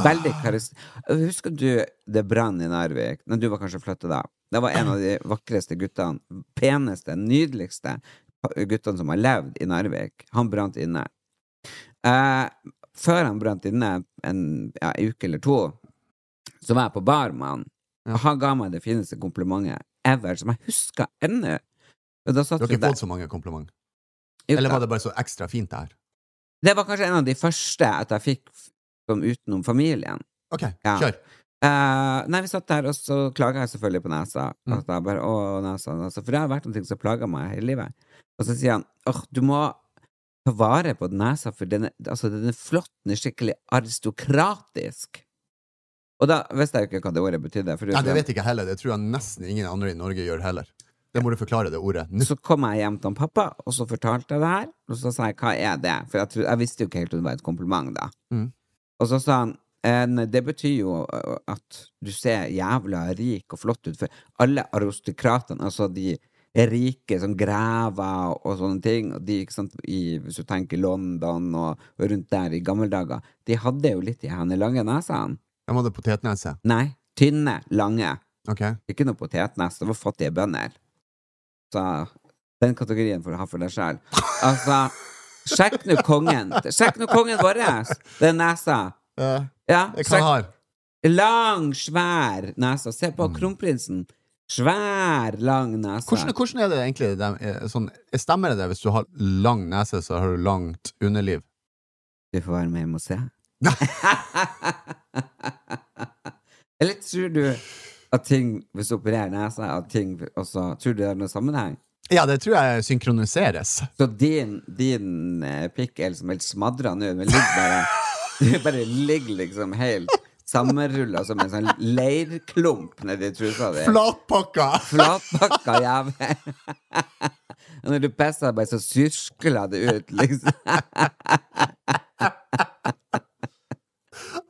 Veldig Ah. karis... Husker du det brann i Narvik? Når du var kanskje flytta da. Det var en av de vakreste guttene, peneste, nydeligste guttene som har levd i Narvik. Han brant inne. Eh, før han brant inne en ja, en uke eller to, så var jeg på bar med han. Og han ga meg det fineste komplimentet ever, som jeg husker ennå. Og da satt Du har vi ikke der- fått så mange komplimenter. Jo, Eller da. var det bare så ekstra fint det her? Det var kanskje en av de første at jeg fikk f- som utenom familien. Ok, Ja. kjør. Eh, nei, vi satt der, og så klaga jeg selvfølgelig på nesa. Mm. At jeg bare, å, nesa, nesa. For det har vært noe som plager meg hele livet. Og så sier han åh, du må ta vare på den nesa, for den er, altså, den er flott, den er skikkelig aristokratisk. Og da visste jeg jo ikke hva det ordet betydde. For Nei, det vet jeg ikke heller. Det tror jeg nesten ingen andre i Norge gjør heller. Det må du forklare, det ordet. Nå. Så kom jeg hjem til han pappa, og så fortalte jeg det her. Og så sa jeg hva er det? For jeg, trodde, jeg visste jo ikke helt om det var et kompliment, da. Mm. Og så sa han «Eh, nei, det betyr jo eh, at du ser jævla rik og flott ut, for alle aristokratene, altså de rike som grever og sånne ting, og de, ikke sant, i, hvis du tenker London og rundt der i gamle dager, de hadde jo litt i henne lange nesene. Jeg må ha det potetnese. Nei, tynne, lange. Ok. Eh, Ikke noe potetnest, det var fattige bønder. Så den kategorien får du ha for deg sjøl. Altså, sjekk nå kongen. Sjekk nå kongen vår. Den nesa. Eh, Ja, hva sjekk. har Lang, svær nese. Se på kronprinsen. Svær, lang Mm. nese. hvordan, hvordan er det egentlig det, eh, sånn, Stemmer det hvis du har lang nese, så har du langt underliv? Du får være med hjem og se. Eller tror du at ting Hvis du opererer nesa, at ting også Tror du det har noen sammenheng? Ja, det tror jeg synkroniseres. Så din, din eh, pikk er liksom helt smadra nå, men ligger bare Du bare ligger liksom helt sammenrulla som en sånn leirklump nedi trusa di. Flatpakka! Flatpakka jævel. Og når du pisser, bare så syrskler det ut, liksom.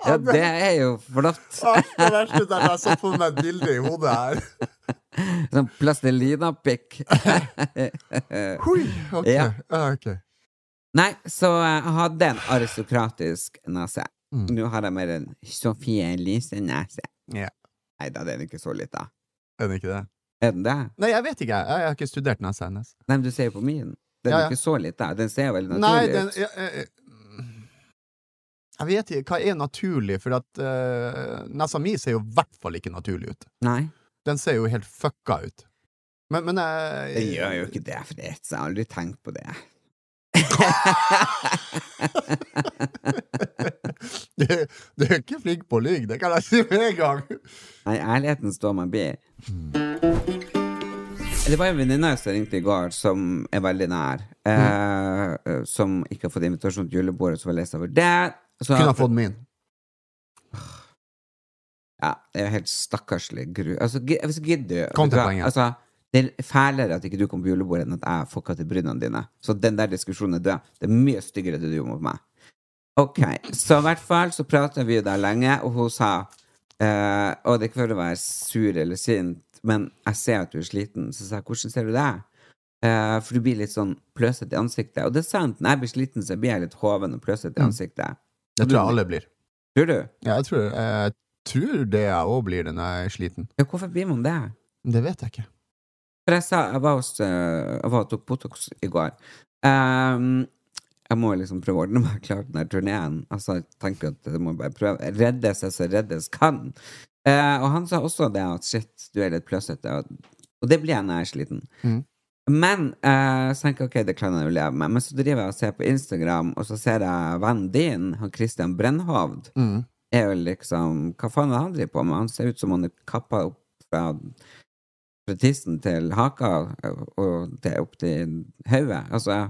Ja, det er jo flott. Ah, Det verste er at jeg så på meg et bilde i hodet her. Sånn plastelina-pikk. Hui, ok. Ja. Ah, ok. Nei, så jeg hadde en aristokratisk nese. Nå har jeg mer en Sofie Elise-nese. Ja. Nei da, den er ikke så lita. Er den ikke det? Er den det? Nei, jeg vet ikke. Jeg, jeg har ikke studert nesa hennes. Eh, Nei, men du ser jo på min. Den Ja, er ja. ikke så lita. Den ser jo veldig Nei, naturlig den ut. jeg, jeg, jeg vet ikke. Hva er naturlig? For at eh, nesa mi ser jo i hvert fall ikke naturlig ut. Nei, Den ser jo helt fucka ut. Men, eh, men jeg den gjør jo ikke det, Fritz. Jeg har aldri tenkt på det. du, du er ikke flink på å lyve, det kan jeg si med en gang. Nei, ærligheten står meg bi. Det var en venninne som ringte i går, som er veldig nær, Mm. eh, som ikke har fått invitasjon til julebordet, så var jeg lei seg for det. Så Kunne ha fått min. Ja, det er jo helt stakkarslig gru... Altså, gi- hvis ikke gidder du Kom til vet du hva? poenget. Altså, det er fælere at ikke du kommer på julebordet enn at jeg fucka til brynene dine. Så den der diskusjonen er død. Det er mye styggere det du gjorde mot meg. Ok, så i hvert fall så prata vi der lenge, og hun sa eh, Og det er ikke for å være sur eller sint, men jeg ser at du er sliten. Så sa jeg, hvordan ser du det? Eh, for du blir litt sånn pløsete i ansiktet. Og det er sant, når jeg blir sliten, så blir jeg litt hoven og pløsete i Mm. ansiktet. Det tror jeg alle blir. Tror du? Ja, jeg tror, jeg tror det jeg òg blir det når jeg er sliten. Ja, hvorfor blir man det? Det vet jeg ikke. For jeg sa Jeg var, hos, eh, jeg var og tok Botox i går. Ehm, jeg må liksom prøve å ordne meg klar til den turneen. Altså, jeg tenker at jeg må bare prøve. Reddes jeg så reddes kan. Eh, og han sa også det at shit, du er litt pløsete. Og, og det blir jeg når jeg er sliten. Mhm. Men eh, så tenker jeg ok, det kan jeg jo leve med. Men så driver jeg og ser på Instagram, og så ser jeg vennen din, han Christian Brennhovd Mm. er jo liksom Hva faen er det han driver på med? Han ser ut som han er kappa opp fra, fra tissen til haka og til, opp til hodet. Altså,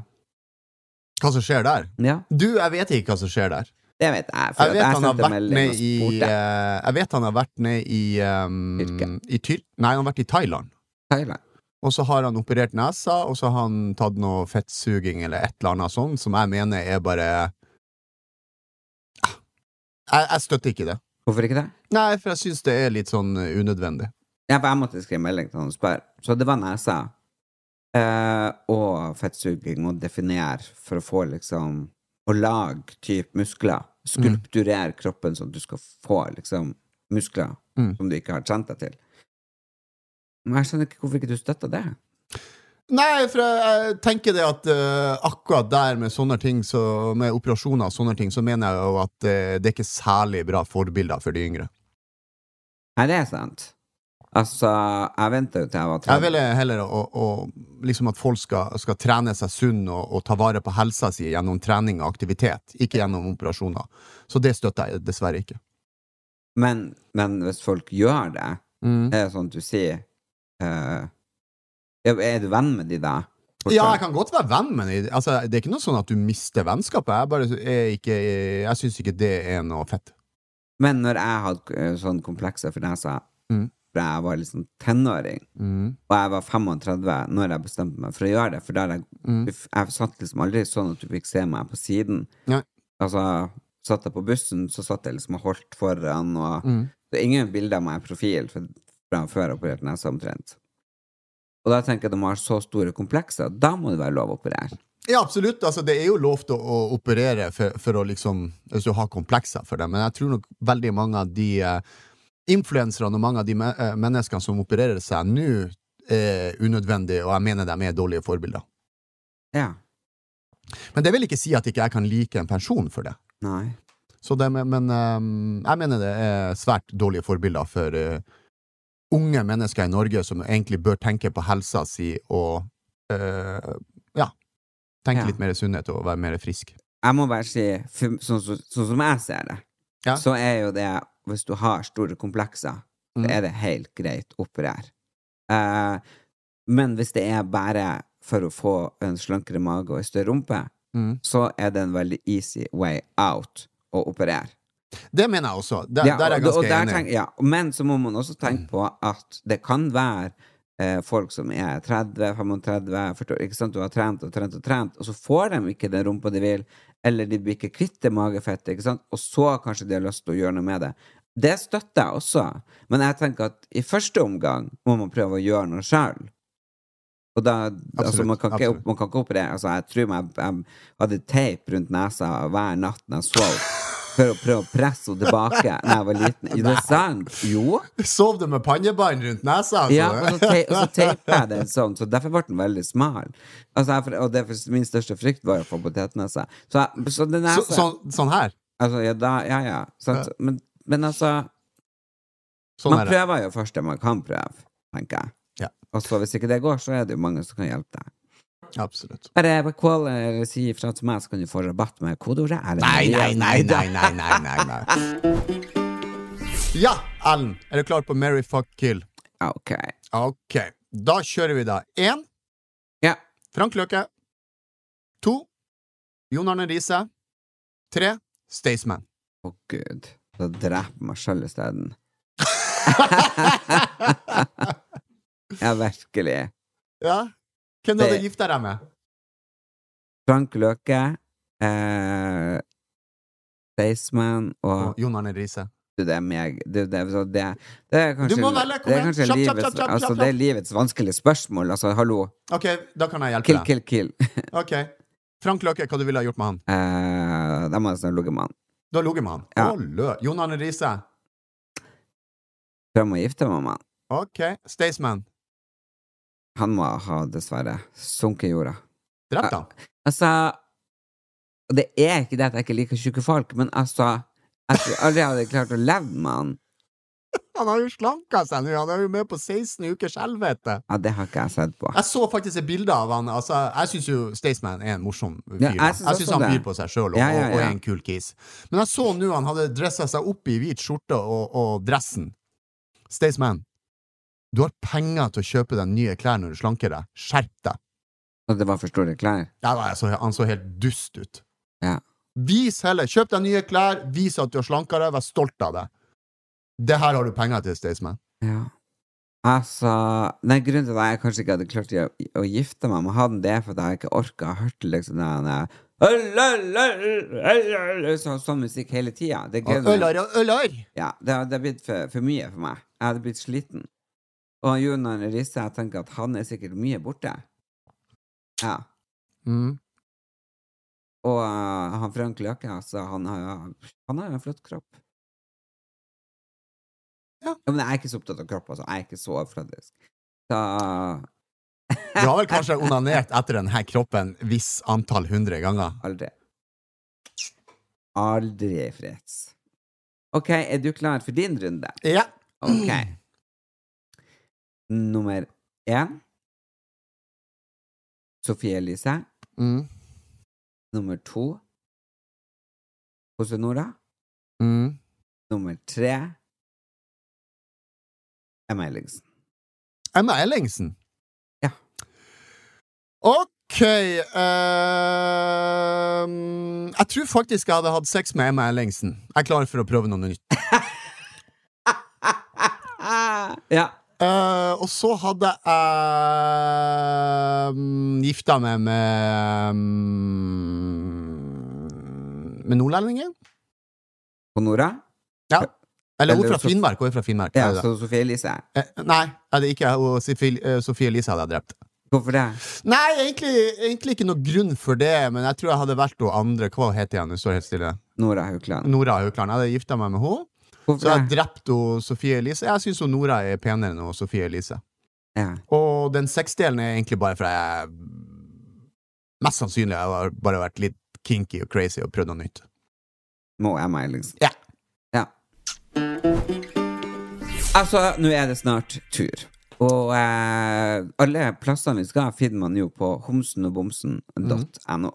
Hva som skjer der? ja. Du, jeg vet ikke hva som skjer der. Det vet jeg. Jeg For at vet jeg han har sendte vært melding og ned i spurte eh, Jeg vet han har vært ned i um, Tyrkia. I Tyr... Nei, han har vært i Thailand. Thailand. Og så har han operert nesa, og så har han tatt noe fettsuging eller et eller annet sånt, som jeg mener er bare Ah. Jeg, jeg støtter ikke det. Hvorfor ikke det? Nei, for jeg syns det er litt sånn eh, unødvendig. Ja, for jeg måtte skrive melding til han og spørre. Så det var nesa eh, og fettsuging og definere for å få liksom Å lage type muskler. Skulpturere kroppen sånn at du skal få liksom muskler Mm. som du ikke har trent deg til. Men jeg skjønner ikke hvorfor ikke du støtter det. Nei, for jeg, jeg tenker det at eh, akkurat der med sånne ting, så, med operasjoner og sånne ting, så mener jeg jo at eh, det er ikke særlig bra forbilder for de yngre. Nei, det er sant. Altså, jeg venta jo til jeg var Jeg 30. ville heller å, å, liksom at folk skal, skal trene seg sunn og, og ta vare på helsa si gjennom trening og aktivitet, ikke gjennom operasjoner. Så det støtter jeg dessverre ikke. Men, men hvis folk gjør det, Mm. er det sånn at du sier eh, ja, Er du venn med de da? Ja, jeg kan godt være venn med dem. Altså, det er ikke noe sånn at du mister vennskapet. Jeg, bare er ikke, jeg syns ikke det er noe fett. Men når jeg hadde eh, sånn komplekser for nesa Mm. da jeg var liksom tenåring, og jeg var 35 når jeg bestemte meg for å gjøre det For da hadde jeg, Mm. jeg satt liksom aldri sånn at du fikk se meg på siden. Nei. Altså, satt jeg på bussen, så satt jeg liksom og holdt foran, og Mm. det er ingen bilder av meg i profil for- fra før jeg opererte nesa omtrent. Og da tenker jeg at de har så store komplekser, da må det være lov å operere. Ja, absolutt. Altså, det er jo lov til å, å operere for, for å liksom, hvis du har komplekser for det, men jeg tror nok veldig mange av de eh, influenserne og mange av de me eh, menneskene som opererer seg nå, er unødvendige, og jeg mener de er dårlige forbilder. Ja. Men det vil ikke si at ikke jeg kan like en person for det. Nei. Så det med, men eh, jeg mener det er svært dårlige forbilder for eh, unge mennesker i Norge som egentlig bør tenke på helsa si og eh, ja, tenke Ja. litt mer sunnhet og være mer frisk. jeg må bare si, for, sånn, som- sånn som jeg ser det, Ja. så er jo det Hvis du har store komplekser, Mm. så er det helt greit å operere. Eh, men hvis det er bare for å Mm. få en slankere mage og en større rumpe, så er det en veldig easy way out å operere. Det mener jeg også. Der, Ja, der er jeg og- og ganske der enig. Mm. tenk- ja, men så må man også tenke på at det kan være eh, folk som er 30-35, 40, ikke sant, du har trent og trent og trent, og så får de ikke den rumpa de vil, eller de blir ikke kvitt det magefettet, ikke sant, og så kanskje de har lyst til å gjøre noe med det. Det støtter jeg også, men jeg tenker at i første omgang må man prøve å gjøre noe sjøl. Og da, altså, man, kan ikke, absolutt. man kan ikke operere altså, Jeg tror jeg, jeg hadde teip rundt nesa hver natt når jeg sov, for å prøve å presse henne tilbake da jeg var liten. Jo, det er sant! Jo. Sov du med pannebånd rundt nesa? Altså. Ja, og så, te og så teipet jeg den sånn, så derfor ble den veldig smal. Altså, jeg, og derfor, min største frykt var jo å få potetnese. Så, jeg- så den så, nesa sånn, sånn her? altså, ja, da, ja, ja. Sant? Men, men altså Sånn Man er det. prøver jo først det man kan prøve, tenker jeg. Ja. Og så hvis ikke det går, så er det jo mange som kan hjelpe deg. Absolutt. Bare call eller si ifra til meg, så kan du få rabatt med kodeordet. Ellen Nei, nei, Marie. nei, nei, nei, nei, nei, nei. Ja, Ellen, er du klar på Mary fuck kill? Ok. Ok, da kjører vi da. Én, Ja. Frank Løke. To, Jon Arne Riise. Tre, Staysman. Å, gud. Da dreper jeg meg sjøl isteden. ja, virkelig. Ja. Hvem du hadde Det- gifta deg med? Frank Løke, eh, Staysman og Jon Arne Riise. Du, det er meg du, det, er- så det, det er Du kanskje, må velge, kom det er igjen. kanskje Kjapp, kjapp, livets, kjapp, kjapp, altså, kjapp. det er livets vanskelige spørsmål. Altså, hallo. Ok, da kan jeg hjelpe Kill, deg. kill, kill. Ok. Frank Løke, hva du ville ha gjort med han? Eh, da må jeg snart ligge med han. Du har ligget med han. Ja. Å, lø. Jon Arne Riise. Prøv å gifte meg med han. Ok. Staysman. Han må ha dessverre sunket i jorda. Drept han. Altså og Det er ikke det at jeg ikke liker tjukke folk, men altså Jeg tror aldri jeg hadde klart å leve med han. Han har jo slanka seg nå. Han er jo med på 16 ukers helvete. Ja, det har ikke jeg sett på. Jeg så faktisk et bilde av han. Altså, jeg syns jo Staysman er en morsom fyr. Ja, jeg da. synes jeg syns også han det. byr på seg sjøl og, Ja, ja, og- og er ja. en kul kis. Men jeg så nå han hadde dressa seg opp i hvit skjorte og, og dressen. Staysman, du har penger til å kjøpe deg nye klær når du slanker deg. Skjerp deg! At det var for store klær. Ja, nei, jeg så, han så helt dust ut. Ja. Vis heller! Kjøp deg nye klær, vis at du har slanka deg, vær stolt av deg. Det her har du penger til, Staysman. ja. Altså Nei, grunnen til at jeg kanskje ikke hadde klart å, å gifte meg med han, det er for at jeg ikke orka å høre liksom den der så, Sånn musikk hele tida. Det er Og grunnen. Ølar og ølar! Ja, det, har- det har blitt for, for mye for meg. Jeg hadde blitt sliten. Og Jon Arne Riise, jeg tenker at han er sikkert mye borte. Ja. Mm. Og eh, han Frank Løke, altså, han har jo han har jo en flott kropp. Ja. Men jeg er ikke så opptatt av kropp, altså. Jeg er ikke så overfladisk. Så Du har vel kanskje onanert etter denne kroppen viss antall hundre ganger? aldri. Aldri freds. Ok, er du klar for din runde? Ja. Ok. Nummer én Sofie Elise. Mm. Nummer to Jose Nora. Mm. Nummer tre Emma Ellingsen. Emma Ellingsen. Ja. Ok ehm, Jeg tror faktisk jeg hadde hatt sex med Emma Ellingsen. Jeg er klar for å prøve noe nytt. Ja. Eh, og så hadde jeg ehm, gifta meg med ehm, Med nordlendinger? Og Nora? Ja. Eller hun er Eller fra så- Finnmark. Hun er fra Finnmark. Ja, er det det? så Sofie Elise. Eh, Nei, er det ikke hun, Sofie, eh, Sofie Elise hadde jeg drept. Hvorfor det? Nei, egentlig, egentlig ikke noe grunn for det, men jeg tror jeg hadde vært hun andre. Hva heter hun? Hun står helt stille. Nora Haukland. Nora Haukland. Jeg hadde gifta meg med henne. Så Hvorfor jeg det? drept hun Sofie Elise. Jeg syns Nora er penere enn hun Sofie Elise. Ja. Og den sexdelen er egentlig bare fordi jeg Mest sannsynlig jeg har bare vært litt kinky og crazy og prøvd noe nytt. Må Emma Ellingsen. Ja. Ja. Altså, nå er det snart tur. Og eh, alle plassene vi skal, finner man jo på Mhm. homsenogbomsen.no.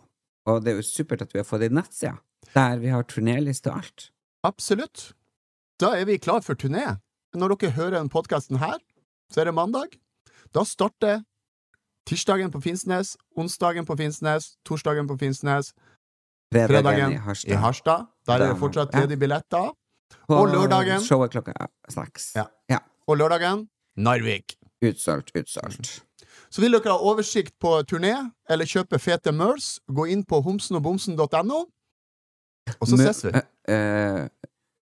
Og det er jo supert at vi har fått ei nettside der vi har turnéliste og alt. Absolutt. Da er vi klar for turné. Når dere hører den podkasten her, så er det mandag. Da starter tirsdagen på Finnsnes, onsdagen på Finnsnes, torsdagen på Finnsnes, Fredagen Fredagen i i Harstad. Harstad. Der er det Fredagen, fortsatt ja. ledige billetter. På Og lørdagen. Showet klokka seks. Ja. ja. Og lørdagen Narvik. Utsolgt, utsolgt. Så vil dere ha oversikt på turné eller kjøpe fete merch, gå inn på homsenogbomsen.no, og Mhm. så Mø- ses vi. eh, eh,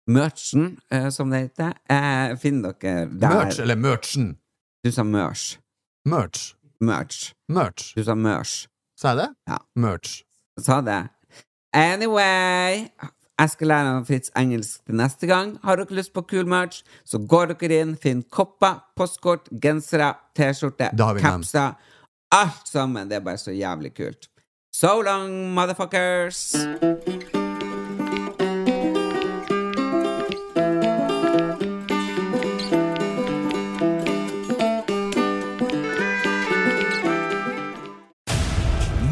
merchen, eh, som det heter, eh, finner dere der. Merch eller merchen? Du sa merch. Merch. Merch. Merch. Du sa merch. Sa jeg det? Ja. Merch. Sa det. Anyway, jeg skal lære om Fritz engelsk til neste gang. Har dere lyst på kul merch, så går dere inn, finn kopper, postkort, gensere, T-skjorte, Da har vi navn. capser. Alt sammen. Det er bare så jævlig kult. So long, motherfuckers!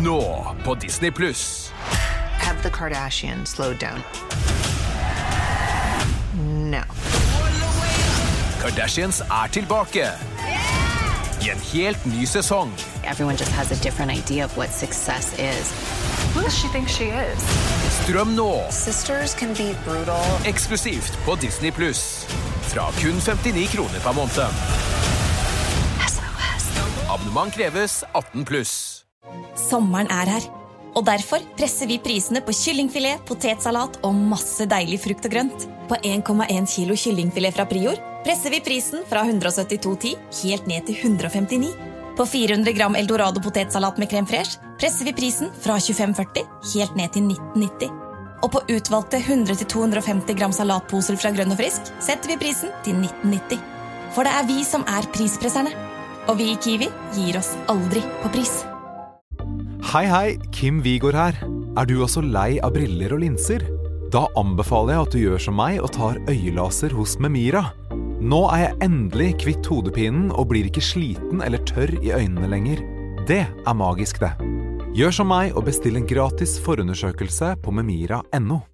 Nå på Disney pluss. Have the Kardashians slowed down? No. Kardashians er tilbake. I en helt ny sesong. Everyone just has a different idea of what success is. Who does she think she is? Strøm nå Sisters can be brutal. eksklusivt på Disney pluss. Fra kun 59 kroner per måned. Abonnement kreves 18 pluss. Sommeren er her, og derfor presser vi prisene på kyllingfilet, potetsalat og masse deilig frukt og grønt. På 1,1 kilo kyllingfilet fra Prior presser vi prisen fra 172,10 helt ned til 159. På 400 gram eldorado potetsalat med crème fraîche presser vi prisen fra 25,40 helt ned til 19,90. Og på utvalgte 100-250 gram salatposer fra Grønn og Frisk setter vi prisen til 19,90. For det er vi som er prispresserne. Og vi i Kiwi gir oss aldri på pris. Hei, hei, Kim Vigor her. Er du også lei av briller og linser? Da anbefaler jeg at du gjør som meg og tar øyelaser hos Memira. Nå er jeg endelig kvitt hodepinen og blir ikke sliten eller tørr i øynene lenger. Det er magisk, det. Gjør som meg og bestill en gratis forundersøkelse på memira.no.